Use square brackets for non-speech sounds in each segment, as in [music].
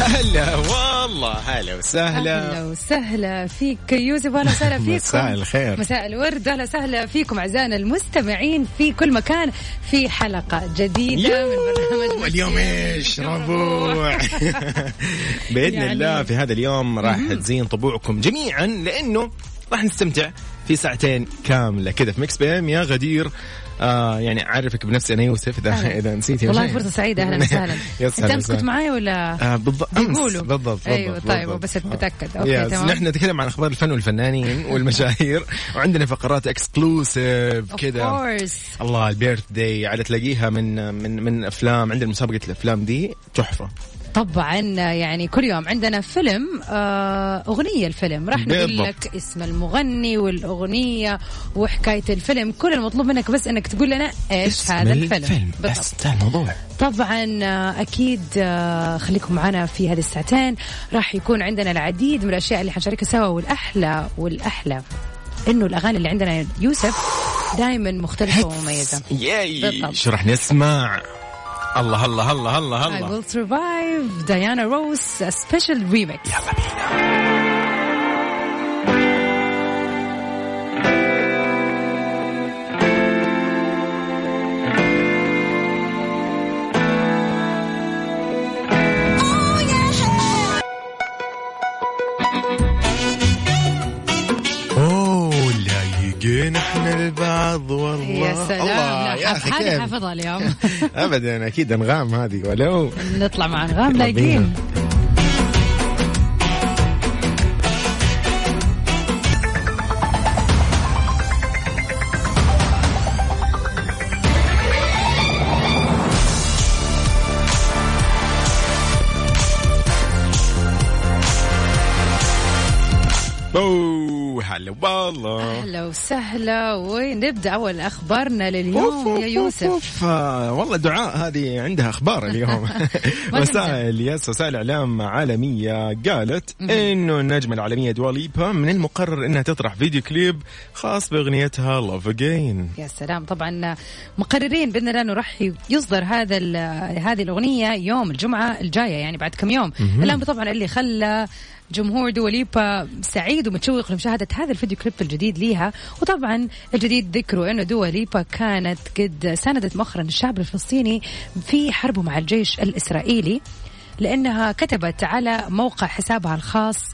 هلا والله هلا وسهلا اهلا وسهلا فيك يوسف اهلا وسهلا فيكم [laughs] مساء الخير. مساء الورد اهلا وسهلا فيكم اعزائنا المستمعين في كل مكان في حلقه جديده من برنامج اليوم ايش [laughs] ربوع باذن يعني- الله في هذا اليوم راح تزين طبوعكم جميعا لانه راح نستمتع في ساعتين كامله كذا في مكس بي ام يا غدير آه يعني اعرفك بنفسي انا يوسف اذا [laughs] أهلا. اذا نسيت والله فرصه سعيده اهلا [laughs] وسهلا انت امس معي كنت معايا ولا آه بالضبط أمس. بيقولوا. بالضبط بالضبط أيوة، طيب، بالضبط. بس أتأكد. آه. أوكي، يس. تمام. نحن نتكلم عن اخبار الفن [laughs] والفنانين والمشاهير وعندنا فقرات اكسكلوسيف كذا course. الله البيرث داي عاد تلاقيها من من من افلام عندنا مسابقه الافلام دي تحفه طبعا يعني كل يوم عندنا فيلم آه، اغنيه الفيلم راح نقول بالضبط. لك اسم المغني والاغنيه وحكايه الفيلم كل المطلوب منك بس انك تقول لنا ايش اسم هذا الفيلم, بالضبط. بس ده الموضوع طبعا آه، اكيد آه، خليكم معنا في هذه الساعتين راح يكون عندنا العديد من الاشياء اللي حنشاركها سوا والاحلى والاحلى انه الاغاني اللي عندنا يا يوسف دائما مختلفه ومميزه ياي بالضبط. شو راح نسمع الله الله الله الله I الله will survive ديانا روز سبيشال ريميكس يلا بينا أوه، لايقين احنا البعض والله يا سلام الله لا، يا اخي هذه كيف حافظها اليوم [laughs] ابدا اكيد انغام هذه ولو نطلع مع انغام يلا لايقين اوه هلا والله اهلا وسهلا ونبدا اول اخبارنا لليوم يا يوسف أوف. آه، والله دعاء هذه عندها اخبار [laughs] اليوم [laughs] ما وسائل يس وسائل اعلام عالميه قالت انه النجمه العالميه دواليبا من المقرر انها تطرح فيديو كليب خاص باغنيتها لاف اجين يا سلام طبعا مقررين باذن الله انه راح يصدر هذا ال- هذه الاغنيه يوم الجمعه الجايه يعني بعد كم يوم الامر طبعا اللي خلى جمهور دوليبا سعيد ومتشوق لمشاهدة هذا الفيديو كليب الجديد ليها وطبعا الجديد ذكروا أنه دوليبا كانت قد ساندت مؤخرا الشعب الفلسطيني في حربه مع الجيش الإسرائيلي لأنها كتبت على موقع حسابها الخاص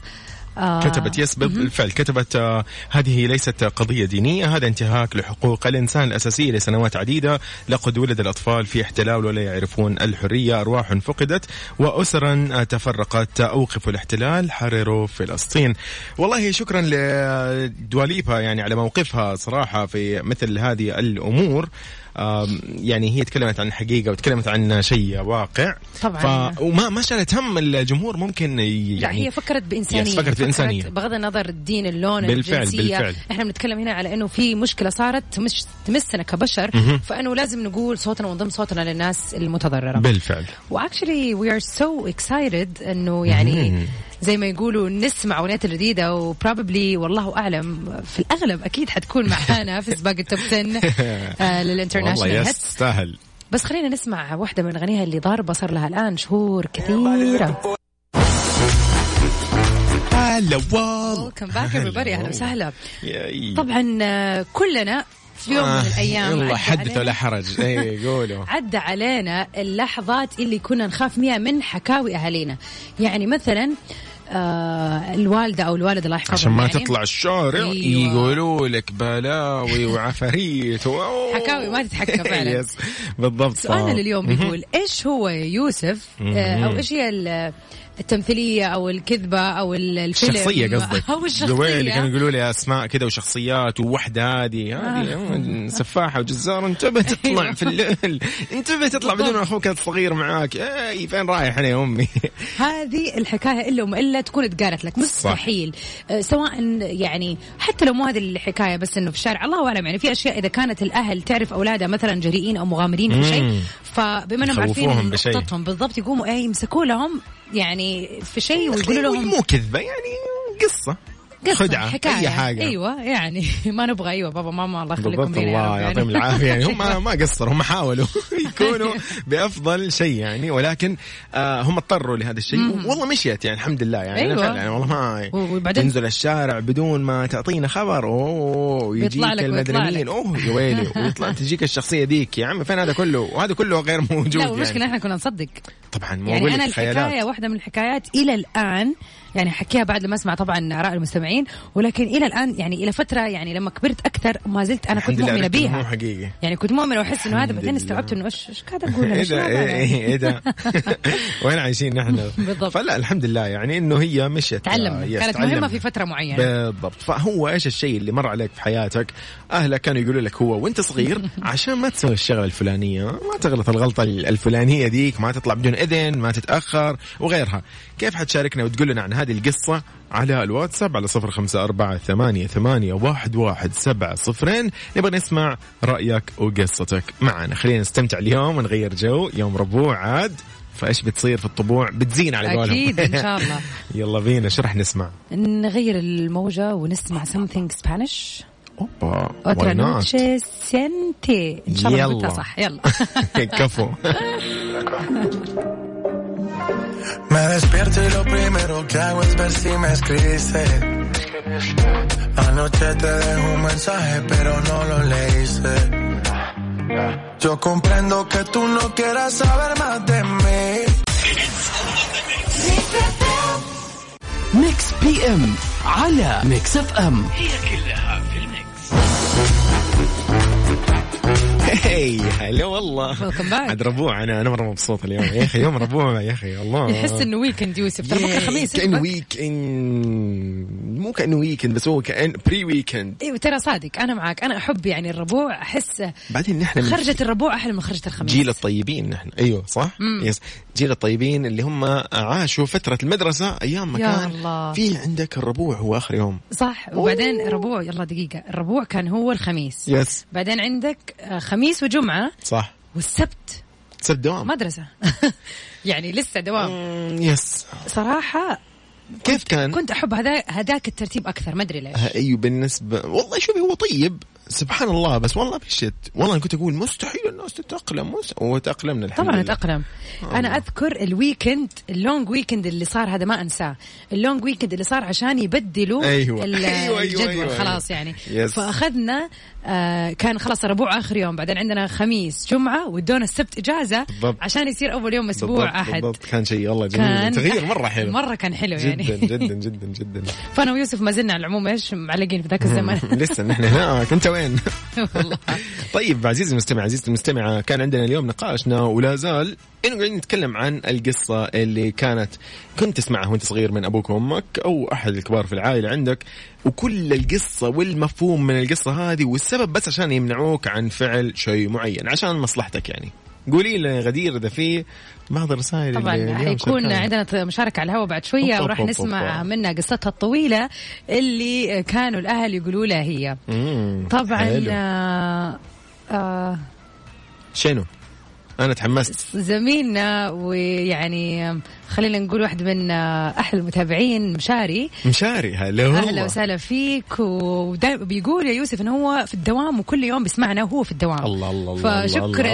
آه، كتبت يس بالفعل كتبت آه، هذه ليست قضية دينية هذا انتهاك لحقوق الإنسان الأساسية لسنوات عديدة لقد ولد الأطفال في احتلال ولا يعرفون الحرية أرواح فقدت وأسرا آه، تفرقت أوقفوا الاحتلال حرروا فلسطين والله شكرا لدواليبا يعني على موقفها صراحة في مثل هذه الأمور آم، يعني هي تكلمت عن حقيقة وتكلمت عن شيء واقع طبعاً. ف... وما ما شالت هم الجمهور ممكن يعني لا هي فكرت بانسانيه يس، فكرت بإنسانية. بغض النظر الدين اللون بالفعل، الجنسيه بالفعل. احنا بنتكلم هنا على انه في مشكله صارت تمش تمسنا كبشر فانه لازم نقول صوتنا ونضم صوتنا للناس المتضرره [laughs] بالفعل واكشلي وي ار سو اكسايتد انه يعني زي ما يقولوا نسمع اغنيات الجديده وبروبلي والله اعلم في الاغلب اكيد حتكون معانا في سباق التوب 10 آه والله للانترناشونال يس هيتس تستاهل بس خلينا نسمع واحده من اغانيها اللي ضاربه صار لها الان شهور كثيره هلا والله ويلكم باك everybody اهلا وسهلا ياي. طبعا آه، كلنا في يوم من آه، الايام عدى يلا حدث علينا- ولا حرج إيه، اي [laughs] قولوا عدى علينا اللحظات اللي كنا نخاف منها من حكاوي اهالينا يعني مثلا آه الوالده او الوالد الله يحفظهم عشان ما يعني تطلع الشارع أيوة. يقولوا لك بلاوي وعفاريت و- حكاوي [laughs] ما تتحكى فعلا. يس، بالضبط سؤالنا لليوم بيقول ايش هو يا يوسف آه او ايش آه، هي ال- التمثيليه او الكذبه او ال- الفيلم شخصية [laughs] قصدك او قبل كانوا الشخصيه يقولوا لي اسماء كذا وشخصيات ووحده هذه آه. هذه سفاحه وجزار [laughs] انتبه أيوة. تطلع في الليل انتبه تطلع بدون اخوك الصغير معاك اي فين رايح انا يا امي هذه الحكايه الا وما الا تكون اتقالت لك مستحيل آه، سواء يعني حتى لو مو هذه الحكايه بس انه في الشارع الله اعلم يعني في اشياء اذا كانت الاهل تعرف اولادها مثلا جريئين او مغامرين في شيء مم. فبما انهم عارفين يخوفوهم بشيء. نقطتهم بالضبط يقوموا ايه يمسكوا لهم يعني في شيء ويقولوا لهم مو كذبه يعني قصه قصة، خدعه حكاية. اي حاجه ايوه يعني [laughs] ما نبغى ايوه بابا ماما الله يخليكم بالضبط لنا يا رب الله يعني. يعطيهم العافيه يعني [laughs] هم ما قصروا هم حاولوا [laughs] يكونوا بافضل شيء يعني ولكن آه هم اضطروا لهذا الشيء والله مشيت يعني الحمد لله يعني أنا أيوة. فعلا يعني والله ما و- وبعدين- تنزل الشارع بدون ما تعطينا خبر اوه يجيك بيطلع لك ويطلع المدنيين لك. اوه يا [laughs] ويلي ويطلع تجيك الشخصيه ذيك يا عم فين هذا كله وهذا كله غير موجود لا والمشكله يعني. احنا كنا نصدق طبعا مو يعني أقول لك انا خيالات. الحكايه واحده من الحكايات الى الان يعني حكيها بعد لما اسمع طبعا اراء المستمعين ولكن الى الان يعني الى فتره يعني لما كبرت اكثر ما زلت انا الحمد كنت لله مؤمنه عرفت إنه مو بيها حقيقي يعني كنت مؤمنه واحس انه هذا الحمد بعدين لله. استوعبت انه ايش ايش قاعد اقول أنا؟ ايه إيش ده الوضع ايه ده؟ ايه [laughs] ده وين عايشين نحن يعني. بالضبط. فلا الحمد لله يعني انه هي مشت آه، تعلمنا يس، كانت مهمه تعلمنا. في فتره معينه بالضبط فهو ايش الشيء اللي مر عليك في حياتك اهلك كانوا يقولوا لك هو وانت [laughs] صغير عشان ما تسوي الشغله الفلانيه ما تغلط الغلطه الفلانيه ديك ما تطلع بدون اذن ما تتاخر وغيرها كيف حتشاركنا وتقول لنا عن هذه القصه على الواتساب على صفر خمسة أربعة ثمانية, ثمانية واحد, واحد سبعة صفرين نبغى نسمع رأيك وقصتك معنا خلينا نستمتع اليوم ونغير جو يوم ربوع عاد فايش بتصير في الطبوع بتزين على قولهم [laughs] اكيد ان شاء الله يلا بينا شو رح نسمع نغير الموجه ونسمع something Spanish اوبا اوترا why not؟ نوتشي سنتي ان شاء الله يلا. نطقها صح يلا [laughs] [laughs] كفو Me despierto y lo primero que hago es ver si me escribiste. Anoche te dejé un mensaje, pero no lo leíste. Yo comprendo que tú no quieras saber más de mí. ميكس بي ام على ميكس اف ام هي هلا والله Welcome back. عاد ربوع انا انا مره مبسوط اليوم يا اخي يوم ربوع يا اخي الله يحس انه ويكند يوسف ترى بكره Yeah. خميس إيش كانه بك؟ ويكند مو كانه ويكند بس هو كان بري ويكند ايوه ترى صادق انا معك انا احب يعني الربوع احس بعدين نحن من خرجة الربوع احلى من خرجة الخميس جيل الطيبين نحن ايوه صح يس جيل الطيبين اللي هم عاشوا فتره المدرسه ايام ما يا كان الله. في عندك الربوع هو اخر يوم صح وبعدين الربوع يلا دقيقة الربوع كان هو الخميس يس بعدين عندك آه، خميس وجمعة صح والسبت سد دوام مدرسة [laughs] يعني لسه دوام مم، يس صراحة كيف كان كنت أحب هذا هذاك الترتيب أكثر ما أدري ليش ايوه بالنسبه والله شوفي هو طيب سبحان الله بس والله بشت والله أنا كنت اقول مستحيل الناس تتاقلم مست- وتاقلمنا الحمد طبعا لله. اتاقلم انا اذكر الويكند اللونج ويكند اللي صار هذا ما انساه اللونج ويكند اللي صار عشان يبدلوا أيوة. ال- أيوة، أيوة، الجدول أيوة. خلاص يعني يس. فاخذنا آه كان خلاص ربوع اخر يوم بعدين عندنا خميس جمعه ودونا السبت اجازه بالضبط. عشان يصير اول يوم بالضبط، اسبوع احد بالضبط كان شيء والله كان جميل تغيير مره حلو مره كان حلو جدا يعني [laughs] جدا جدا جدا فانا ويوسف ما زلنا على العموم ايش معلقين في ذاك [laughs] الزمن لسه نحن هناك انت وين؟ [laughs] والله طيب عزيزي المستمع عزيزتي المستمعة كان عندنا اليوم نقاشنا ولا زال انه قاعدين نتكلم عن القصة اللي كانت كنت تسمعها وانت صغير من ابوك وامك او احد الكبار في العائلة عندك وكل القصة والمفهوم من القصة هذه والسبب بس عشان يمنعوك عن فعل شيء معين عشان مصلحتك يعني قولي لنا يا غدير اذا في بعض الرسائل اللي طبعا اليوم حيكون شاركنا. عندنا مشاركة على الهواء بعد شوية أوب وراح أوب نسمع أوب. منها قصتها الطويلة اللي كانوا الأهل يقولوا لها هي مم، طبعا حلو. آه، آه، شنو؟ انا تحمست زميلنا ويعني آم، خلينا نقول واحد من آه، أحلى المتابعين مشاري مشاري هلا هو اهلا وسهلا فيك ودايما بيقول يا يوسف انه هو في الدوام وكل يوم بيسمعنا وهو في الدوام الله الله الله فشكرا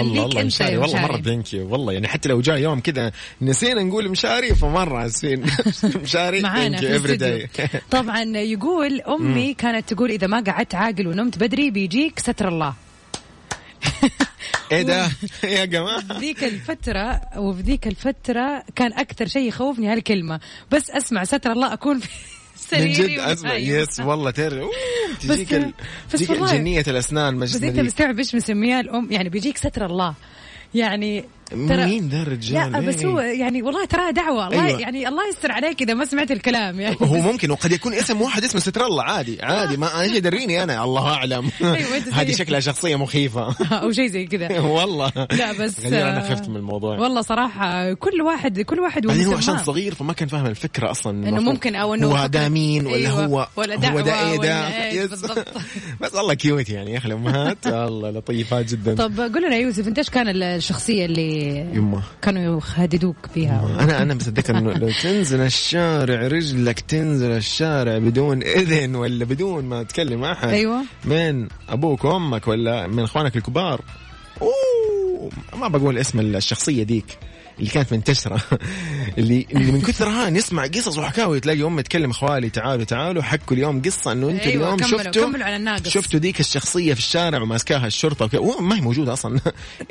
الله ليك الله انت مشاري يا والله مره مشاري ثانك يو والله يعني حتى لو جاء يوم كذا نسينا نقول مشاري فمره اسفين [laughs] مشاري معانا ثانك في يو افري الاستوديو داي [laughs] طبعا يقول امي كانت تقول اذا ما قعدت عاقل ونمت بدري بيجيك ستر الله ايه [laughs] ده يا جماعه ذيك الفترة وفي ذيك الفترة كان أكثر شيء يخوفني هالكلمة بس أسمع ستر الله أكون في [laughs] من سريري جد اسمع ومنايم. يس والله ترى أوه، تجيك بس- ال- بس تجيك والله- جنيه الاسنان ما بس اسمها أنت ذيك. مستوعب إيش مسميها الأم يعني بيجيك ستر الله يعني ترى- مين ذا الرجال؟ لا بس إيه. هو يعني والله ترى دعوة الله أيوة. يعني الله يستر عليك إذا ما سمعت الكلام يعني [laughs] هو ممكن وقد يكون اسم واحد اسمه ستر الله عادي عادي ما ايش يدريني انا الله اعلم [laughs] أيوة، أنت زي- هذه شكلها شخصيه مخيفه أو شيء زي [laughs] كذا والله لا بس غير انا آه، خفت من الموضوع والله صراحة كل واحد كل واحد بعدين هو ومسماه. عشان صغير فما كان فاهم الفكره اصلا إنه المفروض ممكن أو إنه هو ده مين ولا أيوة، هو ولا هو ده دعوة ايه ولا ده إيه، يس. بالضبط. [laughs] بس الله كيوت يعني يا اخي الامهات الله لطيفات جدا طب قول لنا يا يوسف أنت إيش كان ال- الشخصية اللي يمه. كانوا يهددوك فيها انا انا بس اتذكر انه لو تنزل الشارع رجلك تنزل الشارع بدون اذن ولا بدون ما تكلم احد أيوة. من ابوك وامك ولا من اخوانك الكبار اوه ما بقول اسم الشخصيه ديك اللي كانت منتشره [laughs] اللي اللي من كثرها نسمع قصص وحكاوي تلاقي امي تكلم اخوالي تعالوا تعالوا حكوا اليوم قصه انه انتوا أيوة، اليوم كملوا- شفتوا كملوا على الناقص. شفتوا ذيك الشخصيه في الشارع وماسكاها الشرطه وكذا وهو ما هي موجوده [laughs] اصلا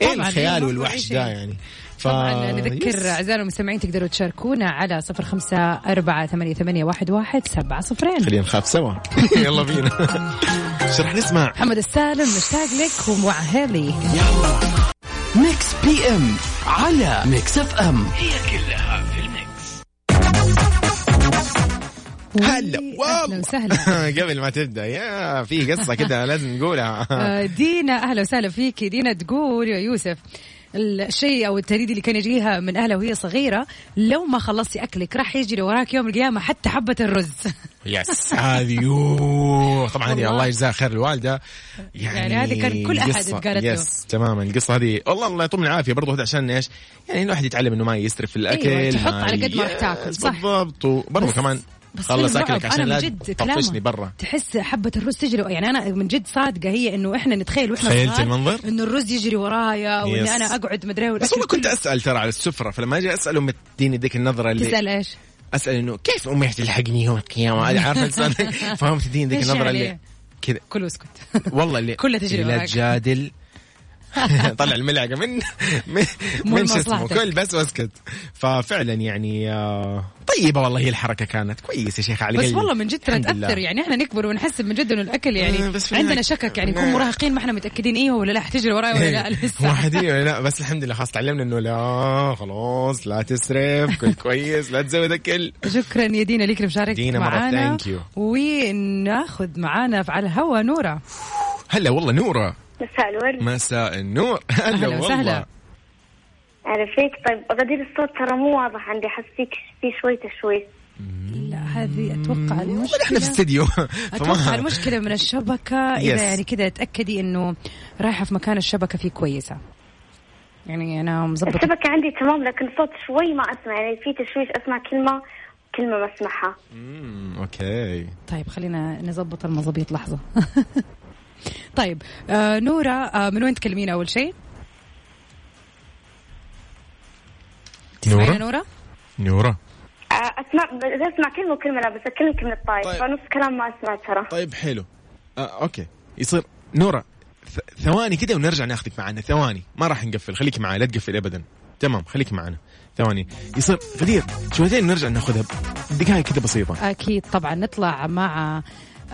ايه طبعاً، الخيال أيوة، والوحش شيء. ده يعني ف... طبعا نذكر يس. اعزائنا المستمعين تقدروا تشاركونا على صفر خمسة أربعة ثمانية ثمانية واحد واحد سبعة صفرين خلينا نخاف سوا [laughs] يلا بينا ايش رح نسمع محمد السالم مشتاق لك ومع هيلي ميكس بي ام على ميكس اف ام هلا أهلا وسهلا [laughs] قبل ما تبدا يا في قصه كده [laughs] لازم [laughs] نقولها آه، دينا اهلا وسهلا فيكي دينا تقول يا يوسف الشيء او التهديد اللي كان يجيها من اهلها وهي صغيره لو ما خلصتي اكلك راح يجري وراك يوم القيامه حتى حبه الرز [laughs] يس هذه يوه طبعا هذه والله. الله يجزاها خير الوالده يعني, يعني هذه كان كل أحد قصة. اتقالت له. يس تماما القصه هذه والله الله يطول من العافيه برضه هذا عشان ايش يعني الواحد يتعلم انه ما يسرف في الاكل أيوة، تحط ما على قد ما راح يس، تاكل، صح. بالضبط وبرضه كمان بس خلص فيلم اكلك رعب. عشان أنا لا من جد تطفشني كلامه. برا تحس حبه الرز تجري يعني انا من جد صادقه هي انه احنا نتخيل واحنا تخيلت صغار المنظر؟ انه الرز يجري ورايا وان يس. انا اقعد مدري بس والله كنت اسال ترى على السفره فلما اجي اسالهم تديني ذيك النظره اللي تسال ايش؟ اسال انه كيف امي حتلحقني يوم القيامه [laughs] أنا عارفه الانسان فهم تدين ذيك إيش النظره يعني؟ اللي كذا كله اسكت والله [laughs] اللي كلها تجري اللي لا وراك. [laughs] تجادل طلع الملعقه من من, مو من شو اسمه لمصلحتك. كل بس واسكت ففعلا يعني آه، طيبه والله هي الحركه كانت كويسه يا شيخ على بس قلبي. والله من جد ترى الحمد لله. تاثر يعني احنا نكبر ونحس من جد انه الاكل آه، يعني بس في عندنا النهاية- شك يعني نكون آه. مراهقين ما احنا متاكدين ايه ولا لا حتجري ورايا ولا يعني، لا [laughs] لسه واحد إيه، لا بس الحمد لله خلاص تعلمنا انه لا خلاص لا تسرف كل كويس لا تزود اكل شكرا يا دينا ليك لمشاركتك دينا مرة معانا thank you. وناخذ معانا على الهوا نوره هلا والله نوره مساء الورد مساء النور هلا أهلا وسهلا. والله عرفت طيب غدير الصوت ترى مو واضح عندي حسيك في شوي تشويش لا هذه اتوقع والله احنا في [laughs] المشكله استديو اتوقع فما- المشكله من الشبكه Yes. اذا يعني كذا تاكدي انه رايحه في مكان الشبكه فيه كويسه يعني انا مظبطه الشبكة عندي تمام لكن صوت شوي ما أسمع يعني في تشويش أسمع كلمة كلمة ما أسمعها مم، اوكي طيب خلينا نظبط المظابيط لحظه [laughs] طيب آه نوره آه من وين تكلمين اول شيء نورة معنا نوره نورة آه، أسمع إذا أسمع كلمة وكلمة لا بس أتكلم كلمة طايف طيب. فنص كلام ما أسمع ترى طيب حلو آه اوكي يصير نورة ث- ثواني كده ونرجع ناخذك معنا ثواني ما راح نقفل خليك معنا لا تقفل ابدا تمام خليك معنا ثواني يصير غدير شويتين نرجع ناخذها دقائق كده بسيطة اكيد طبعا نطلع مع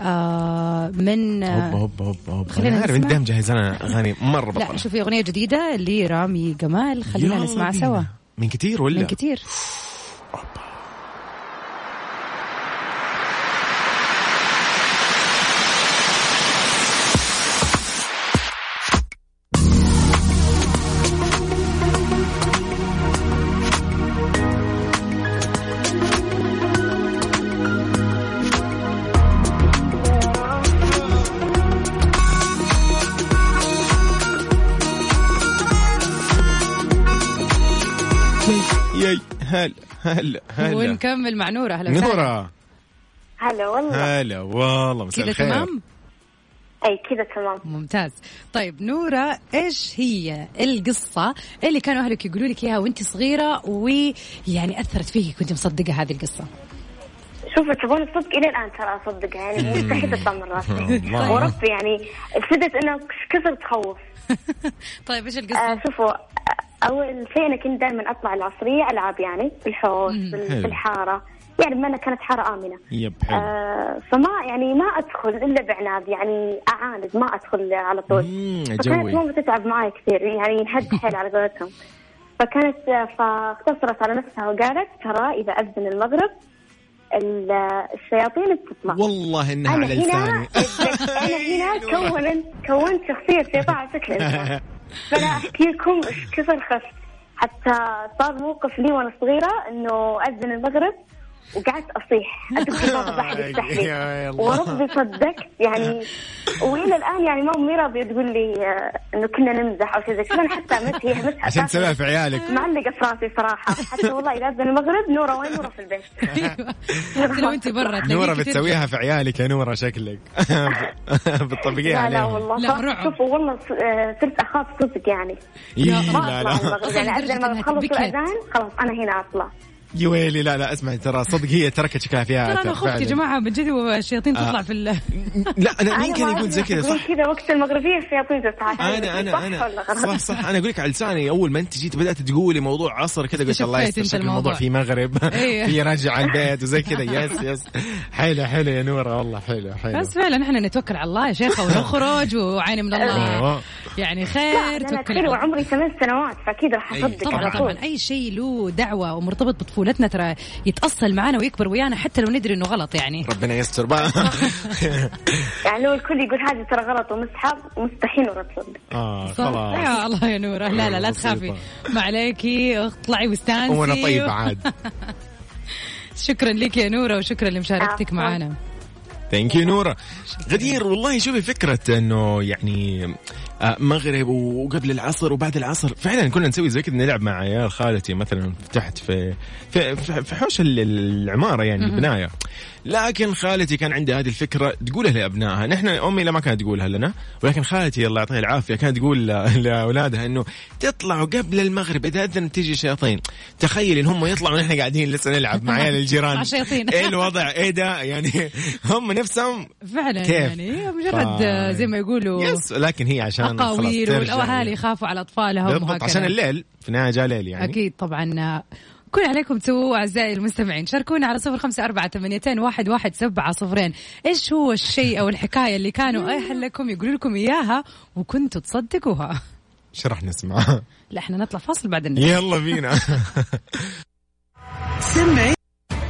آه من هوب هوب هوب هوب خلينا أنا عارف انت نسمع. مجهز انا اغاني مرة لا بطلة شوفي اغنيه جديده لرامي جمال خلينا يلا نسمع بينا. سوا من كتير ولا من كتير ياي هلا هلا هلا ونكمل مع نوره اهلا وسهلا نورة هلا والله هلا والله مساء كذا الخير تمام أي كذا تمام ممتاز طيب نورة إيش هي القصة اللي كانوا أهلك يقولوا لك إياها وأنت صغيرة ويعني أثرت فيك كنت مصدقة هذه القصة [laughs] شوفوا تبون الصدق إلى الآن ترى أصدقها يعني مستحيل أطمن راسي [laughs] الله. وربي يعني ابتدت أنا كثر تخوف طيب إيش آه القصة؟ شوفوا آه، اول شيء انا كنت دائما اطلع العصريه العاب يعني بالحوش حلو. بال- بالحاره يعني بما انها كانت حاره امنه يب حلو آه فما يعني ما ادخل الا بعناد يعني اعاند ما ادخل على طول مم، فكانت جوي. ماما تتعب معي كثير يعني ينهد حيل على قولتهم فكانت فاقتصرت على نفسها وقالت ترى إذا أذن المغرب ال- الشياطين بتطلع والله انها أنا على هنا لساني [laughs] أنا هنا كونت كونت شخصية شيطان على [laughs] شكل إنسان فأنا أحكي لكم إيش كثر خفت حتى صار موقف لي وأنا صغيرة إنه أذن المغرب وقعدت أصيح أدخل [laughs] المغرب أحد يفتح يا لي الله. وربي صدقت يعني وإلى الآن يعني مامي راضية تقول لي آه، إنه كنا نمزح أو شيء زي كذا أنا حتى عملت هي عملت عشان تسويها في عيالك معلقة في راسي صراحة حتى والله إذا أذن المغرب نورة وين نورة في البيت [laughs] حتى لو انت برا نورة تلاقيك بتسويها في عيالك يا نورة شكلك [laughs] بتطبقيها يعني. لا لا عليهم والله لا، صار- رعب. شوفوا والله ص- آه، صرت اخاف صدق يعني إيه، ما لا اطلع من لا المغرب يعني لدرجة اذن ما إنها بخلص تبكي. الاذان خلاص انا هنا اطلع يا ويلي لا لا اسمع ترى صدق هي تركت شكلها فيها ترى أثر انا خفت يا فعلاً. جماعه من جد والشياطين آه. تطلع في ال- لا انا مين أنا كان ما يقول أعرف زي كذا يقولون صح كذا وقت المغربيه الشياطين تتعافى انا انا انا صح صح صح انا اقول لك على لساني اول ما انت جيت بدات تقولي موضوع عصر كذا قلت الله شفيت يستر أنت شكل الموضوع الموضوع. في مغرب [laughs] إيه. في رجع على البيت وزي كذا يس يس حلو حلو يا نورة والله حلو حلو بس فعلا احنا نتوكل على الله يا شيخه ونخرج وعين من الله آه. أيوة. يعني خير انا توكل كل على الله. وعمري ثمان سنوات فاكيد راح اصدق طبعا على طول طبعا اي شيء له دعوه ومرتبط بطفولتنا ترى يتاصل معنا ويكبر ويانا حتى لو ندري انه غلط [laughs] يعني ربنا [laughs] يستر بقى يعني لو الكل يقول هذه ترى غلط ومسحب مستحيل ولا تصدق اه صح؟ خلاص يا الله يا نوره لا لا [laughs] لا تخافي ما عليكي اطلعي واستانسي وانا طيب [laughs] عاد شكرا لك يا نوره وشكرا لمشاركتك عفواً. معنا ثانك يو نورا غدير والله شوفي فكره انه يعني آه، مغرب وقبل العصر وبعد العصر فعلا كنا نسوي زي كذا نلعب مع عيال خالتي مثلا تحت في في, في في حوش ال- العماره يعني البنايه لكن خالتي كان عندها هذه الفكره تقولها لابنائها نحن امي لا ما كانت تقولها لنا ولكن خالتي الله يعطيها العافيه كانت تقول ل- [laughs] لاولادها انه تطلعوا قبل المغرب اذا اذن بتيجي شياطين تخيل ان هم يطلعوا ونحن قاعدين لسه نلعب مع عيال الجيران مع شياطين. ايه الوضع ايه ده يعني هم نفسهم فعلا كيف؟ يعني مجرد فاي. زي ما يقولوا يس لكن هي عشان خلاص اقاويل ترجع والاهالي يعني. يخافوا على اطفالهم بالضبط وهكذا عشان الليل في النهايه جاء ليل يعني أكيد طبعا كل عليكم تسووه أعزائي المستمعين شاركونا على صفر خمسة أربعة ثمانيتين واحد واحد سبعة صفرين إيش هو الشيء أو الحكاية اللي كانوا أهلكم يقولوا لكم إياها وكنتوا تصدقوها ايش راح نسمع؟ لا احنا نطلع فاصل بعد النهاية [laughs] يلا بينا [laughs] سمعي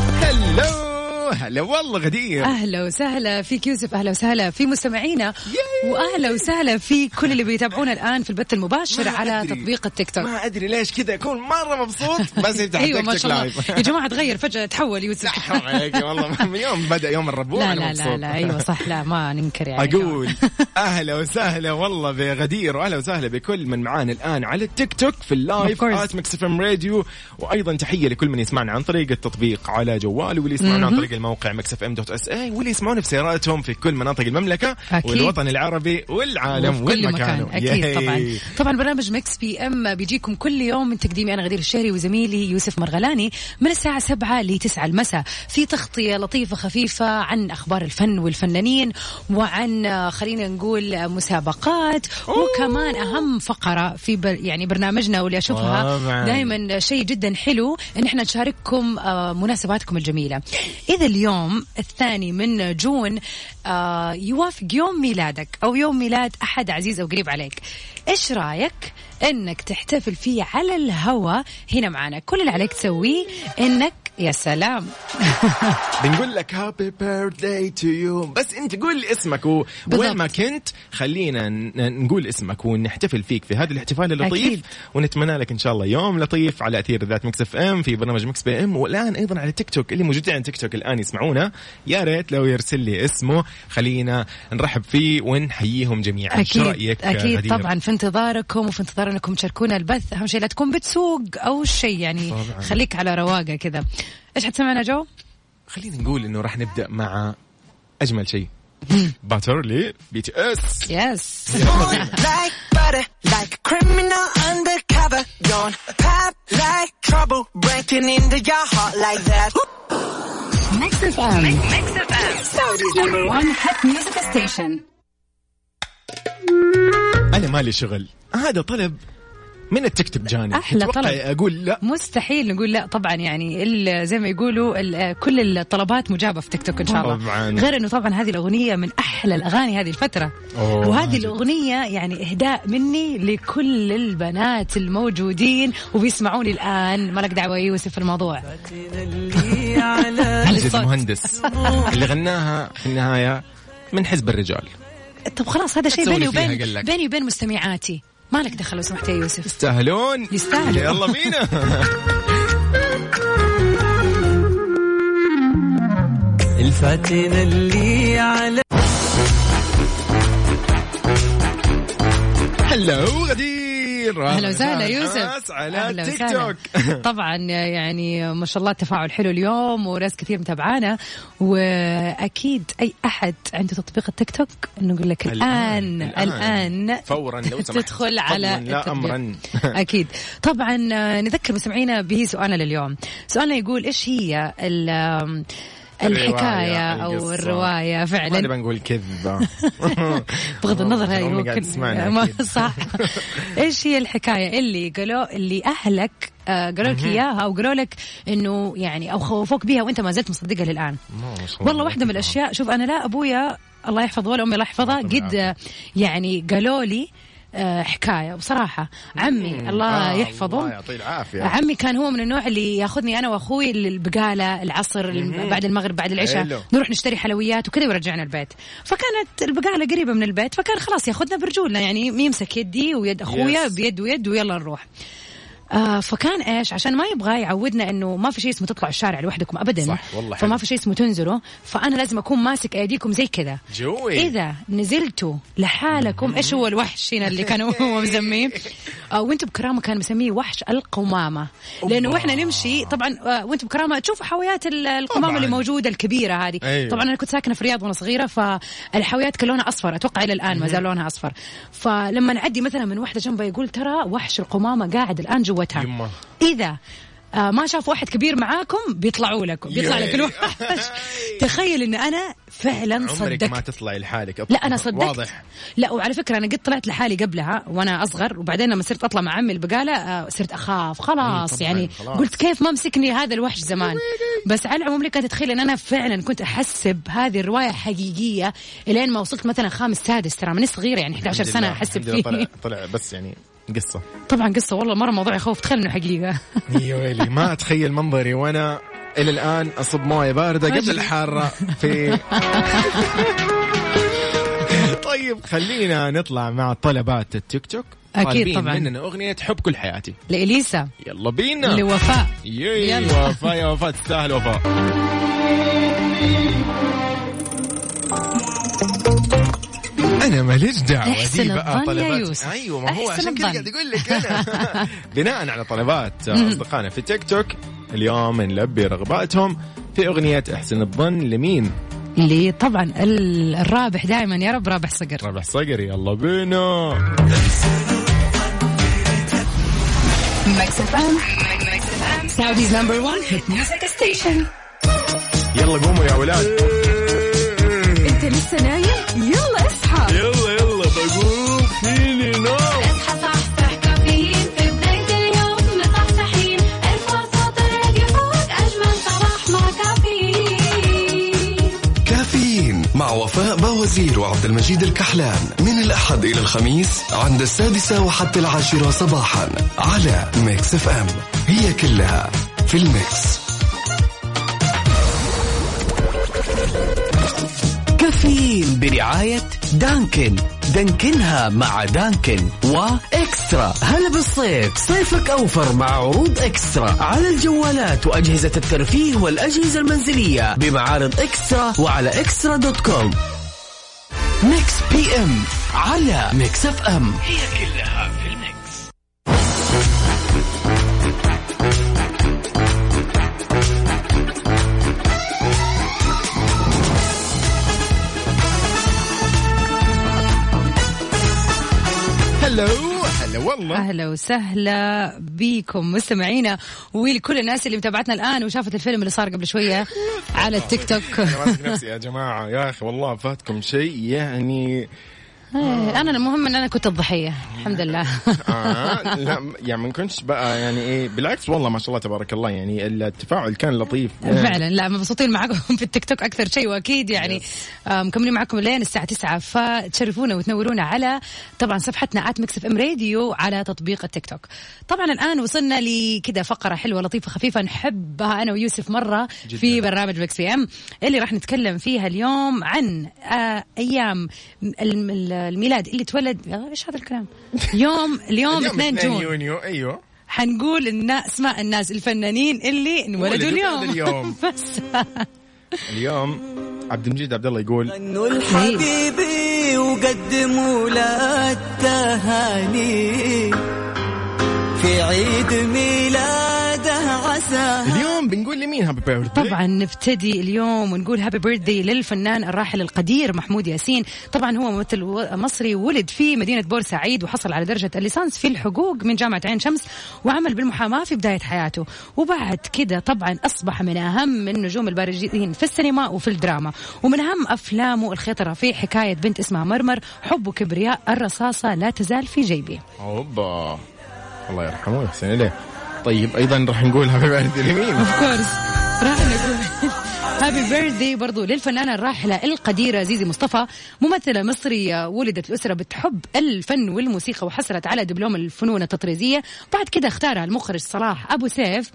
هلو هلا والله غدير أهلا وسهلا فيك يوسف أهلا وسهلا في مستمعينا وأهلا وسهلا في كل اللي بيتابعونا الآن في البث المباشر ما على أدري- تطبيق التيك توك ما ادري ليش كذا اكون مره مبسوط بس يفتح [laughs] أيوة تيك ما توك شاء الله لايف. يا جماعة تغير فجأة تحول يوسف [laughs] حرام عليك والله من يوم بدا يوم الربوع لا أنا لا لا مبسوط. لا أيوة صح لا ما ننكر يعني اقول [laughs] اهلا وسهلا والله بغدير واهلا وسهلا بكل من معانا الان على التيك توك في Of اللايف course. ات مكس ام راديو وايضا تحيه لكل من يسمعنا عن طريق التطبيق على جواله واللي يسمعنا عن طريق الموقع مكس اف ام دوت اس اي واللي يسمعونا في سياراتهم في كل مناطق المملكه أكيد. والوطن العربي والعالم وفي كل وين مكان مكانه اكيد ياي. طبعا طبعا برنامج مكس بي ام بيجيكم كل يوم من تقديمي انا غدير الشهري وزميلي يوسف مرغلاني من الساعه 7 ل 9 المساء في تغطيه لطيفه خفيفه عن اخبار الفن والفنانين وعن آه، خلينا نقول آه، مسابقات وكمان اهم فقره في بر يعني برنامجنا واللي اشوفها طبعاً. دائما شيء جدا حلو ان احنا نشارككم آه، مناسباتكم الجميله اذا اليوم الثاني من جون آه، يوافق يوم ميلادك او يوم ميلاد احد عزيز او قريب عليك ايش رايك انك تحتفل فيه على الهوا هنا معنا كل اللي عليك تسويه انك يا سلام بنقول لك هابي بيرثداي تو يو بس انت قول اسمك و- بالضبط. وين ما كنت خلينا ن- نقول اسمك ونحتفل فيك في هذا الاحتفال اللطيف أكيد. ونتمنى لك ان شاء الله يوم لطيف على اثير ذات مكس اف ام في برنامج مكس بي ام والان ايضا على تيك توك اللي موجودين على تيك توك الان يسمعونا يا ريت لو يرسل لي اسمه خلينا نرحب فيه ونحييهم جميعا إيش اكيد رأيك اكيد غدير؟ طبعا في انتظاركم وفي انتظار انكم تشاركونا البث اهم شيء لا تكون بتسوق او شيء يعني طبعاً. خليك على رواقه كذا ايش حتسمعنا جو؟ [laughs] خلينا نقول انه راح نبدا مع اجمل شيء باتر لي بي تي اس يس like butter, like a criminal undercover. Don't pop like trouble, breaking into your heart like that. ميكس اف ام ميكس اف ام سعوديز نمبر 1 هات ميوزك ستيشن انا مالي شغل هذا طلب من التيك توك جاني أحلى تتوقع طلب. اقول لا مستحيل نقول لا طبعا يعني ال- زي ما يقولوا ال- كل الطلبات مجابه في تيك توك ان شاء الله طبعاً. غير انه طبعا هذه الاغنيه من احلى الاغاني هذه الفتره أوه، وهذه ماجد. الاغنيه يعني اهداء مني لكل البنات الموجودين وبيسمعوني الان مالك دعوه يا يوسف في الموضوع ماجد الصوت. [laughs] المهندس اللي غناها في النهايه من حزب الرجال طب خلاص هذا شيء تسوي بيني لي فيها، وبين قال لك. بيني وبين مستمعاتي مالك دخل لو سمحت يا يوسف يستاهلون يستاهلوا. يلا [laughs] بينا الفاتنة اللي على هلا وغدير اهلا وسهلا يوسف على أهلا تيك وسهلا. توك [laughs] طبعا يعني ما شاء الله التفاعل حلو اليوم وناس كثير متابعانا واكيد اي احد عنده تطبيق التيك توك نقول لك الان الان, فورا لو سمحت تدخل على فضلاً لا التطبيق. [laughs] امرا اكيد طبعا نذكر مستمعينا به سؤالنا لليوم سؤالنا يقول ايش هي ال- الحكاية الرواية، أو القصة. الرواية ما فعلا نبغى نقول كذبة [laughs] آه، بغض النظر هاي أمي قاعدة ممكن تسمعنا [laughs] ما- أكيد. صح ايش هي الحكايه اللي قالوا اللي اهلك آه، قالوا لك اياها او قالوا لك انه يعني او خوفوك بيها وانت ما زلت مصدقها للان والله واحده من الاشياء شوف انا لا ابويا الله يحفظه ولا امي الله يحفظها قد آه، يعني قالوا لي آه، حكايه بصراحه عمي آه، آه، الله الله يحفظه يعطيه العافيه عمي كان هو من النوع اللي ياخذني انا واخوي للبقاله العصر الم- بعد المغرب بعد حلو. العشاء نروح نشتري حلويات وكذا ويرجعنا البيت فكانت البقاله قريبه من البيت فكان خلاص ياخذنا برجولنا يعني يمسك يدي ويد اخويا Yes. بيد ويد ويلا نروح آه فكان ايش عشان ما يبغى يعودنا انه ما في شيء اسمه تطلعوا الشارع لوحدكم ابدا صح، والله فما حلو. في شيء اسمه تنزلوا فانا لازم اكون ماسك ايديكم زي كذا جوي. إيه. اذا نزلتوا لحالكم ايش هو الوحش هنا اللي [laughs] كانوا هو مسميه آه وانتم بكرامه كان مسميه وحش القمامه لانه واحنا نمشي طبعا آه وانتم بكرامه تشوفوا حاويات ال- القمامه طبعاً. اللي موجوده الكبيره هذه أيوة. طبعا انا كنت ساكنه في الرياض وانا صغيره فالحاويات كان لونها اصفر اتوقع الى الان ما زال لونها اصفر فلما نعدي مثلا من واحده جنبها يقول ترى وحش القمامه قاعد الان جوتها يمه. اذا آه، ما شاف واحد كبير معاكم بيطلعوا لكم بيطلع [laughs] لك الوحش تخيل ان انا فعلا عمرك ما صدقت تطلعي لحالك لا انا صدقت واضح لا وعلى فكره انا قد طلعت لحالي قبلها وانا اصغر وبعدين لما صرت اطلع مع عمي البقاله آه، صرت اخاف خلاص يعني خلاص. قلت كيف ما مسكني هذا الوحش زمان بس على العموم لك تتخيل ان انا فعلا كنت احسب هذه الروايه حقيقيه الين ما وصلت مثلا خامس سادس ترى من صغيره يعني 11 الحمد سنه لله، احسب الحمد لله طلع فيه طلع بس يعني قصة [laughs] طبعا قصه والله مره موضوع يخوف تخيل انه [laughs] حقيقه يا ويلي ما اتخيل منظري وانا الى الان اصب مويه بارده قبل الحاره [laughs] في طيب خلينا نطلع مع طلبات التيك توك أكيد طالبين طبعاً. مننا اغنيه حب كل حياتي لاليسا يلا بينا [laughs] لوفاء ياي يلا. وفاء يا وفاء تستاهل وفاء انا ماليش دعوه احسن دي بقى الظن يا طلبات يوسف. ايوه ما هو احسن عشان كذا الظن. قاعد اقول لك [laughs] انا بناء على طلبات اصدقائنا في تيك توك اليوم نلبي رغباتهم في اغنيه احسن الظن لمين؟ اللي طبعا ال- الرابح دائما يا رب رابح صقر ربح صقر يلا بينا ميكس اف ام سعوديز نمبر 1 هات ميوزك ستيشن يلا قوموا يا اولاد انت لسه نايم يلا اصحى يلا يلا بقوم فيني نوم اصحى صحصح كافيين في بداية اليوم مصحصحين الفرصة تراك فوق أجمل صباح مع كافيين كافيين مع وفاء باوزير وعبد المجيد الكحلان من الأحد إلى الخميس عند السادسة وحتى العاشرة صباحا على ميكس اف ام هي كلها في الميكس كافيين برعاية دانكن دانكنها مع دانكن وإكسترا هلا بالصيف صيفك أوفر مع عروض إكسترا على الجوالات وأجهزة الترفيه والأجهزة المنزلية بمعارض إكسترا وعلى إكسترا دوت كوم ميكس بي ام على ميكس اف ام الله. اهلا وسهلا بيكم مستمعينا ولكل الناس اللي متابعتنا الان وشافت الفيلم اللي صار قبل شويه على التيك توك أنا [laughs] ماسك نفسي يا جماعه يا اخي والله فاتكم شيء يعني إيه، انا المهم ان انا كنت الضحيه الحمد لله آه لا يعني ما كنتش بقى يعني ايه بالعكس والله ما شاء الله تبارك الله يعني التفاعل كان لطيف فعلا لا مبسوطين معكم [laughs] في التيك توك اكثر شيء واكيد يعني آه، مكملين معكم لين الساعه 9 فتشرفونا وتنورونا على طبعا صفحتنا ات ميكس اف ام راديو على تطبيق التيك توك طبعا الان وصلنا لكذا فقره حلوه لطيفه خفيفه نحبها انا ويوسف مره في برنامج ميكس بي ام اللي راح نتكلم فيها اليوم عن آه، ايام الم- الميلاد اللي تولد آه، ايش هذا [laughs] الكلام يوم اليوم 2 جون يونيو ايوه حنقول النا... اسماء الناس الفنانين اللي انولدوا ولدوا اليوم اليوم. [laughs] بس اليوم عبد المجيد عبد الله يقول غنوا لحبيبي وقدموا له التهاني في عيد ميلاده عساه اليوم بنقول لمين هابي بيرث طبعا نبتدي اليوم ونقول هابي بيرثدي للفنان الراحل القدير محمود ياسين طبعا هو ممثل و- مصري ولد في مدينة بورسعيد وحصل على درجة الليسانس في الحقوق من جامعة عين شمس وعمل بالمحاماة في بداية حياته وبعد كده طبعا أصبح من أهم النجوم البارزين في السينما وفي الدراما ومن أهم أفلامه الخطرة في حكاية بنت اسمها مرمر حب وكبرياء الرصاصة لا تزال في جيبي اوبا الله يرحمه ويحسن اليه طيب ايضا راح نقول هابي بيرث لمين اوف [laughs] كورس راح نقول هابي بيرثدي برضو للفنانة الراحلة القديرة زيزي مصطفى ممثلة مصرية ولدت في أسرة بتحب الفن والموسيقى وحصلت على دبلوم الفنون التطريزية بعد كده اختارها المخرج صلاح أبو سيف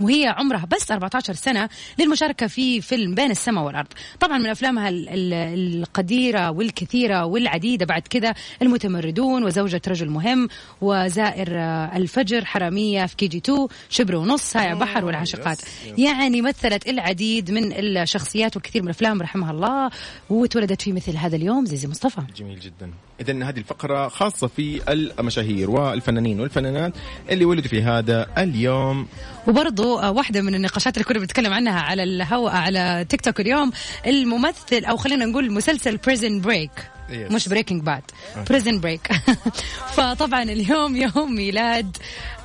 وهي عمرها بس 14 سنة للمشاركة في فيلم بين السماء والأرض طبعا من أفلامها ال- ال- القديرة والكثيرة والعديدة بعد كذا المتمردون وزوجة رجل مهم وزائر آه، الفجر حرامية في كي جي 2 شبر ونص هاي بحر والعاشقات يعني مثلت العديد من الشخصيات والكثير من الأفلام رحمها الله وتولدت في مثل هذا اليوم زيزي مصطفى جميل جدا اذا هذه الفقره خاصه في المشاهير والفنانين والفنانات اللي ولدوا في هذا اليوم وبرضو آه، واحدة من النقاشات اللي كنا بنتكلم عنها على الهواء على تيك توك اليوم الممثل أو خلينا نقول مسلسل بريزن بريك Yes. آه. مش بريكنج باد Okay. بريزن بريك [laughs] فطبعا اليوم يوم ميلاد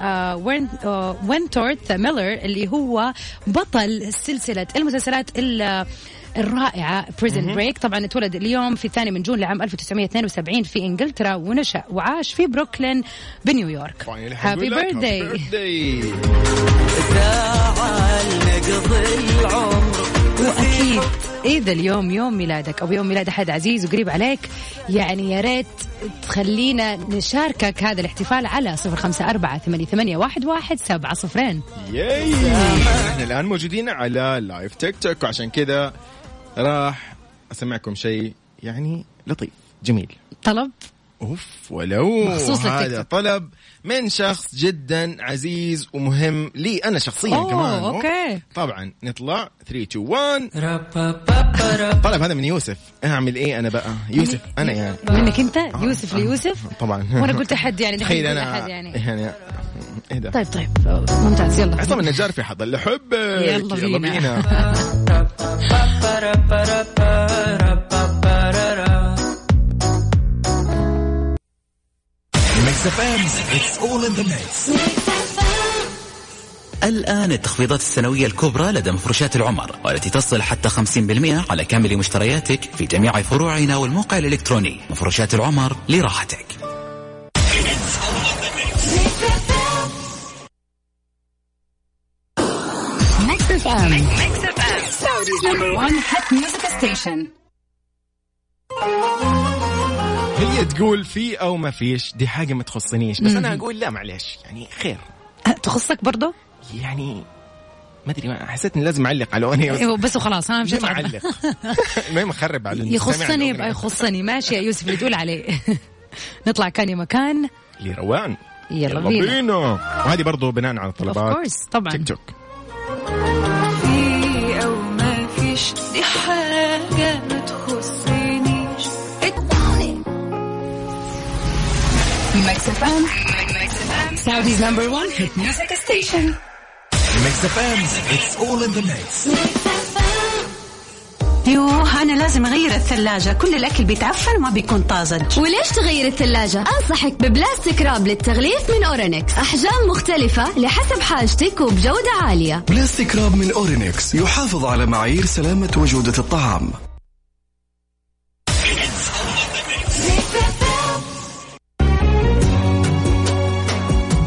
آه، وين آه، وينتورث ميلر اللي هو بطل سلسلة المسلسلات ال- الرائعة بريزن مهم. بريك طبعا اتولد اليوم في الثاني من جون لعام 1972 في انجلترا ونشأ وعاش في بروكلين بنيويورك طيب، هابي بيرثداي ساعة لنقضي العمر واكيد اذا اليوم يوم ميلادك او يوم ميلاد احد عزيز وقريب عليك يعني يا ريت تخلينا نشاركك هذا الاحتفال على صفر خمسة أربعة ثمانية, ثمانية واحد, واحد سبعة صفرين ياي احنا الان موجودين على لايف تيك توك وعشان كذا راح اسمعكم شيء يعني لطيف جميل طلب اوف ولو مخصوص للتيك هذا توك. طلب من شخص جدا عزيز ومهم لي انا شخصيا أوه، كمان أوكي. طبعا نطلع 3 2 1 طلب هذا من يوسف اعمل ايه انا بقى يوسف انا يعني منك أنت يوسف ليوسف طبعا [laughs] وأنا قلت أحد يعني تخيل نقول انا أحد يعني يعني اهدى طيب طيب ممتاز يلا عصام النجار في حضر لحبك يلا بينا. ميكس اف ام اتس اول ان ذا ميكس الآن التخفيضات السنوية الكبرى لدى مفروشات العمر والتي تصل حتى 50% على كامل مشترياتك في جميع فروعنا والموقع الإلكتروني مفروشات العمر لراحتك ميكس اف ام ميكس اف ام سعوديز نمبر 1 هات ميوزك ستيشن هي تقول في او ما فيش دي حاجه ما تخصنيش بس انا اقول لا معلش يعني خير أه، تخصك برضو؟ يعني ما ادري ما- حسيت اني لازم اعلق على اغنيه بس إيه، بس وخلاص ها مش ليه ما هتعب. اعلق [laughs] المهم اخرب على المستمع يخصني الأغنية. يبقى يخصني ماشي يا يوسف اللي تقول عليه [laughs] نطلع كان يا مكان لروان يلا بينا. وهذه برضو بناء على Of الطلبات course، طبعاً. تيك توك في او ما فيش دي حاجه ما تخصنيش اتعني ميكس اف ام سعوديز نمبر 1 هات ميوزك ستيشن ميكس اف ام اتس اول ان ذا ميكس يوه أنا لازم أغير الثلاجة كل الأكل بيتعفن وما بيكون طازج وليش تغير الثلاجة؟ أنصحك ببلاستيك راب للتغليف من أورينكس أحجام مختلفة لحسب حاجتك وبجودة عالية بلاستيك راب من اورينكس يحافظ على معايير سلامة وجودة الطعام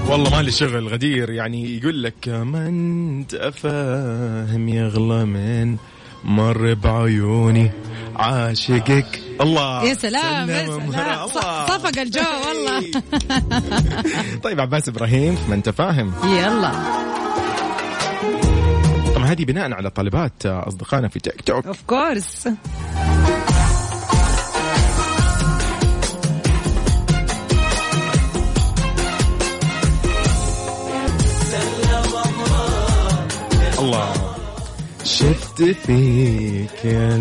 والله مالي شغل غدير يعني يقول لك ما انت فاهم يغلى من مر بعيوني عاشقك الله يا سلام يا سلم سلام الله. ص- صفق الجو والله [laughs] طيب عباس ابراهيم ما انت فاهم يلا طبعا هذه بناء على طلبات اصدقائنا في تيك توك اوف كورس الله شفت فيك يا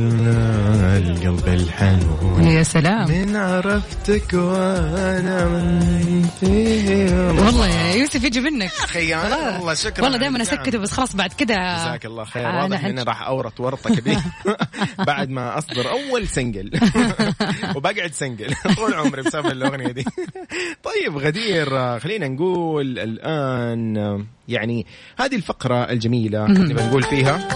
القلب الحنون يا سلام من عرفتك وانا من فيه والله يا يوسف يجي منك اخي انا والله شكرا والله دائما على الدعم. اسكته بس خلاص بعد كده جزاك الله خير آه، أنا واضح حنش- اني راح اورط ورطه [laughs] كبيره [laughs] بعد ما اصدر اول سنجل وبقعد سنجل [laughs] طول عمري بسبب الاغنيه دي [laughs] طيب غدير آه، خلينا نقول الان آه، يعني هذه الفقره الجميله مهم. اللي بنقول فيها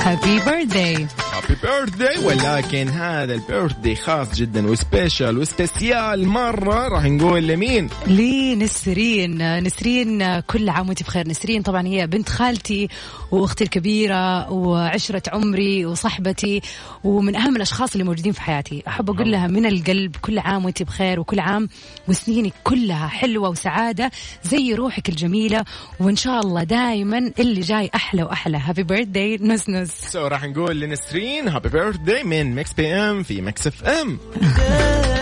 هابي بيرثداي هابي بيرثداي ولكن هذا البيرثداي خاص جدا وسبيشال وسبيسيال مره راح نقول لمين؟ لنسرين نسرين كل عام وانت بخير نسرين طبعا هي بنت خالتي واختي الكبيره وعشره عمري وصاحبتي ومن اهم الاشخاص اللي موجودين في حياتي احب اقول لها من القلب كل عام وانت بخير وكل عام وسنينك كلها حلوه وسعاده زي روحك الجميله وان شاء الله دائما اللي جاي احلى واحلى هابي بيرثداي نس نس سو راح نقول لنسرين هابي بيرثداي من مكس بي ام في مكس اف ام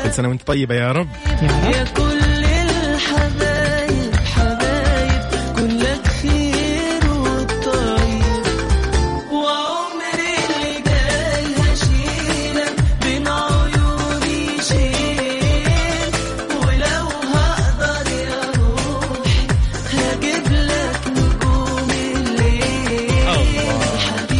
كل سنه وانت طيبه يا رب يا كل الحبايب حبايب كلك خير والطيب وعمري اللي جاي هشيلك بين عيوني شيل ولو هقدر يا روحي هجيب لك نجوم الليل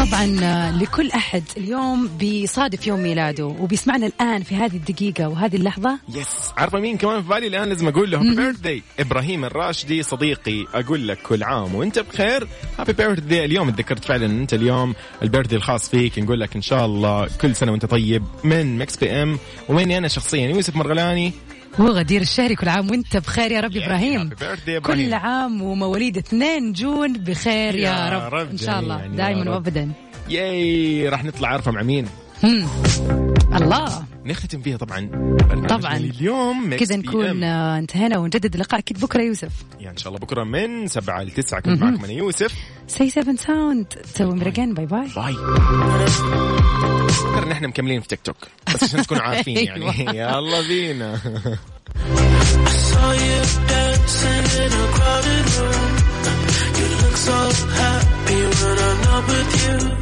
طبعا لكل احد اليوم بيصادف يوم ميلاده وبيسمعنا الان في هذه الدقيقه وهذه اللحظه يس عارفه مين كمان في بالي الان لازم اقول له هابي بيرثداي ابراهيم الراشدي صديقي اقول لك كل عام وانت بخير هابي بيرثداي اليوم اتذكرت فعلا ان انت اليوم البيرثداي الخاص فيك نقول لك ان شاء الله كل سنه وانت طيب من مكس بي ام ومني انا شخصيا يوسف مرغلاني وغدير الشهري كل عام وانت بخير يا رب ابراهيم happy birthday يا إبراهيم. كل عام ومواليد 2 جون بخير يا يا رب رب ان شاء الله جميعاً يا دائما رب. وابدا ياي راح نطلع عارفه مع مين مم. الله نختتم فيها طبعا برنامجنا طبعاً. اليوم كذا Mix نكون آه، انتهينا ونجدد اللقاء اكيد بكره يا يوسف يعني ان شاء الله بكره من 7 ل 9 كنت مهم. معكم انا يوسف سي 7 ساوند سوي مرقين باي باي باي فكر نحن مكملين في تيك توك بس عشان تكونوا [laughs] عارفين يعني أيوة. يلا بينا saw you dancing in a crowded room. You look so happy when I'm not with you.